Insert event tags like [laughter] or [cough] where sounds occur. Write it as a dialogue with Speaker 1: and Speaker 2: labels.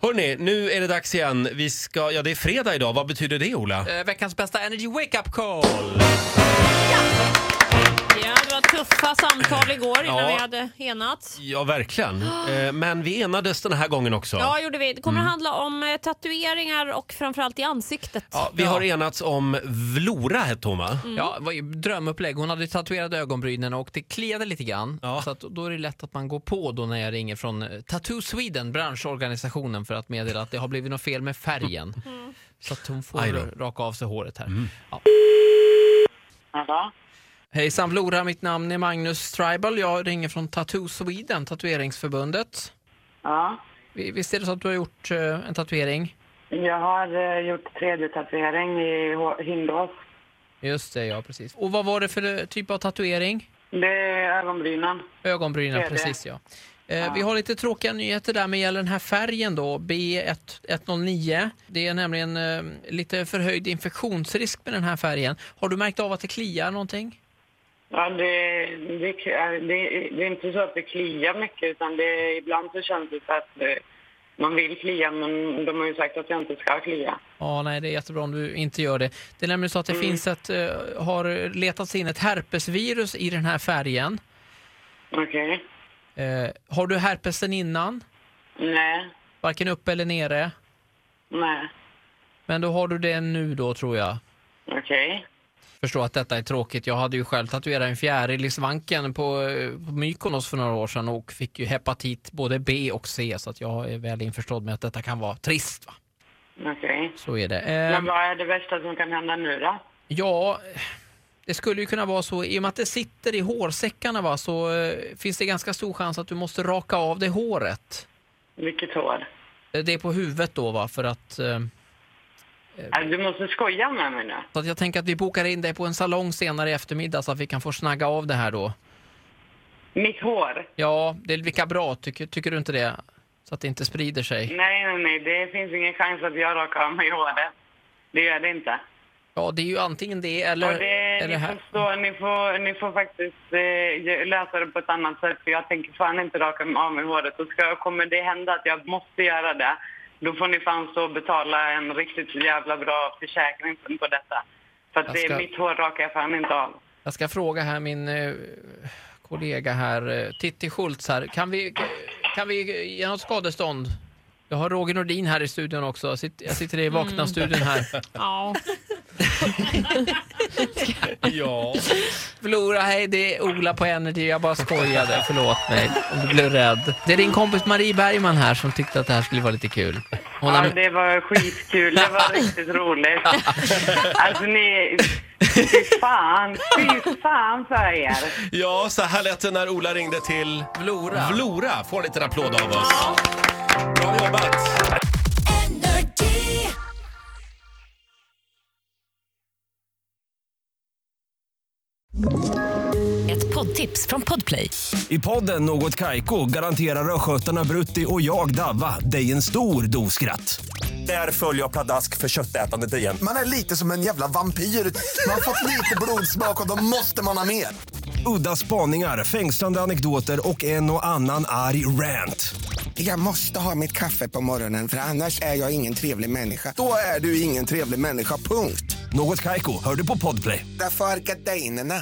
Speaker 1: Hörni, nu är det dags igen. Vi ska, ja, det är fredag idag. Vad betyder det, Ola?
Speaker 2: Eh, veckans bästa Energy Wake Up
Speaker 1: Mm.
Speaker 2: Call!
Speaker 3: Ja, det var tuffa samtal igår innan
Speaker 1: Ja.
Speaker 3: vi hade enats.
Speaker 1: Ja, verkligen. Eh, Men vi enades den här gången också.
Speaker 3: Ja, gjorde vi. Det kommer
Speaker 1: Mm.
Speaker 3: att handla om eh, tatueringar och framförallt i ansiktet.
Speaker 1: Ja, vi har enats om Vlora, hette hon va?
Speaker 2: Ja, det var ju drömupplägg. Hon hade tatuerat ögonbrynen och det kliade lite grann.
Speaker 1: Ja.
Speaker 2: Så att då är det lätt att man går på då när jag ringer från eh, Tattoo Sweden, branschorganisationen, för att meddela att det har blivit något fel med färgen. Så att hon
Speaker 1: Mm. Aj då. Mm.
Speaker 2: får raka av sig håret här. Ja.
Speaker 4: Hallå?
Speaker 2: Hejsan Flora, mitt namn är Magnus Tribal. Jag ringer från Tattoo Sweden, tatueringsförbundet.
Speaker 4: Ja.
Speaker 2: Vi- Visst är det så att du har gjort eh, en tatuering?
Speaker 4: Jag har eh, gjort 3D-tatuering i H- Hindås.
Speaker 2: Just det, ja precis. Och vad var det för eh, typ av tatuering?
Speaker 4: Det är ögonbrynen.
Speaker 2: Ögonbrynen,
Speaker 4: Det är det.
Speaker 2: precis ja. Eh, Vi har lite tråkiga nyheter där med gäller den här färgen då, B1109. Det är nämligen eh, lite förhöjd infektionsrisk med den här färgen. Har du märkt av att det kliar någonting?
Speaker 4: Ja, det, det, eh, det, det är inte så att det kliar mycket, utan det, ibland så känns det så att eh, man vill klia, men de har ju sagt att jag inte ska klia.
Speaker 2: Ja, nej det är jättebra om du inte gör det. Det är nämligen så att
Speaker 4: Mm.
Speaker 2: det finns ett, eh, har letats in ett herpesvirus i den här färgen.
Speaker 4: Okej?
Speaker 2: Eh, har du herpes sen innan?
Speaker 4: Nej.
Speaker 2: Varken upp eller nere?
Speaker 4: Nej.
Speaker 2: Men då har du det nu då tror jag.
Speaker 4: Okej.
Speaker 2: förstå att detta är tråkigt. Jag hade ju själv tatuerat en fjäril i svanken på, eh, på Mykonos för några år sedan och fick ju hepatit både B och C så att jag är väl införstådd med att detta kan vara trist. Va?
Speaker 4: Okej.
Speaker 2: Så är det.
Speaker 4: Men
Speaker 2: Ehm,
Speaker 4: vad är det värsta som kan hända nu då?
Speaker 2: ja, det skulle ju kunna vara så i och med att det sitter i hårsäckarna va, så eh, finns det ganska stor chans att du måste raka av det håret.
Speaker 4: Vilket hår?
Speaker 2: Eh, Det är på huvudet då va, för att eh,
Speaker 4: Alltså, du måste skoja med mig nu.
Speaker 2: så att jag tänker att vi bokar in dig på en salong senare i eftermiddag så att vi kan få snagga av det här då.
Speaker 4: Mitt hår?
Speaker 2: Ja, det är lika bra. Tycker, tycker du inte det? Så att det inte sprider sig.
Speaker 4: Nej, nej, nej. Det finns ingen chans att jag rakar av mig håret. Det gör det inte.
Speaker 2: Ja, det är ju antingen det eller,
Speaker 4: Och det,
Speaker 2: eller
Speaker 4: ni,
Speaker 2: här.
Speaker 4: får stå, ni, får, ni får faktiskt eh, lösa det på ett annat sätt för jag tänker fan inte raka av mig håret. Och ska, kommer det hända att jag måste göra det, då får ni fan stå och betala en riktigt jävla bra försäkring på detta. För att
Speaker 2: Jag
Speaker 4: det
Speaker 2: ska-
Speaker 4: är mitt hår rakar jag fan inte av.
Speaker 2: Jag ska fråga här min eh, kollega här, eh, Titti Schultz här. Kan vi, kan vi ge något skadestånd? Jag har Roger Nordin här i studion också. Jag sitter, jag sitter i
Speaker 4: Mm.
Speaker 2: Vakna-studion här.
Speaker 3: Ja.
Speaker 1: Ja.
Speaker 2: Flora, hej, det är Ola på Energy. Jag bara skojade. Förlåt mig om du blev rädd. Det är din kompis Marie Bergman här som tyckte att det här skulle vara lite kul. Hon
Speaker 4: Ja,
Speaker 2: har,
Speaker 4: det var skitkul. Det var
Speaker 2: [laughs]
Speaker 4: riktigt roligt. Alltså ni... Fy fan, fy fan för er.
Speaker 1: [laughs] ja, så här lät det när Ola ringde till
Speaker 2: Flora.
Speaker 1: Vlora. Får en liten applåd av oss. Bra jobbat!
Speaker 5: Ett poddtips från Podplay.
Speaker 6: I podden Något Kaiko garanterar östgötarna Brutti och jag, Davva, dig en stor dos skratt. Där följer jag pladask för köttätandet igen.
Speaker 7: Man är lite som en jävla vampyr. Man har fått lite blodsmak och då måste man ha mer.
Speaker 6: Udda spaningar, fängslande anekdoter och en och annan arg rant.
Speaker 7: Jag måste ha mitt kaffe på morgonen för annars är jag ingen trevlig människa. Då är du ingen trevlig människa, punkt.
Speaker 6: Något Kaiko, hör du på Podplay.
Speaker 7: Därför arkadeinerna.